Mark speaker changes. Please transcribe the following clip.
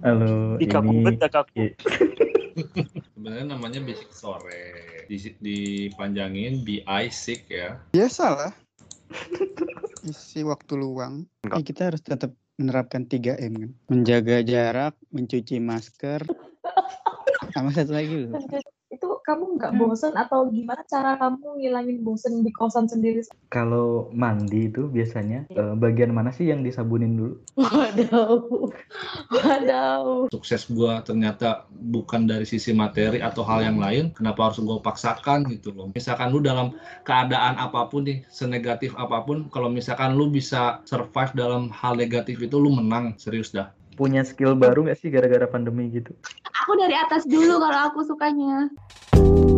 Speaker 1: Halo,
Speaker 2: Tiga
Speaker 1: ini
Speaker 2: kubet agak
Speaker 1: Ki-
Speaker 3: Sebenarnya namanya Bisik Sore. Di- dipanjangin BI Sick ya.
Speaker 4: Biasalah. Isi waktu luang.
Speaker 5: Enggak.
Speaker 4: Eh, kita harus tetap menerapkan 3M kan. Menjaga jarak, mencuci masker. Sama satu lagi loh.
Speaker 6: itu kamu nggak bosen atau gimana cara kamu ngilangin bosen di kosan sendiri?
Speaker 1: kalau mandi itu biasanya eh, bagian mana sih yang disabunin dulu?
Speaker 6: Waduh, waduh.
Speaker 3: Sukses gua ternyata bukan dari sisi materi atau hal yang lain. Kenapa harus gua paksakan gitu loh. Misalkan lu dalam keadaan apapun nih, senegatif apapun, kalau misalkan lu bisa survive dalam hal negatif itu lu menang, serius dah.
Speaker 1: Punya skill baru nggak sih gara-gara pandemi gitu?
Speaker 7: Aku dari atas dulu kalau aku sukanya.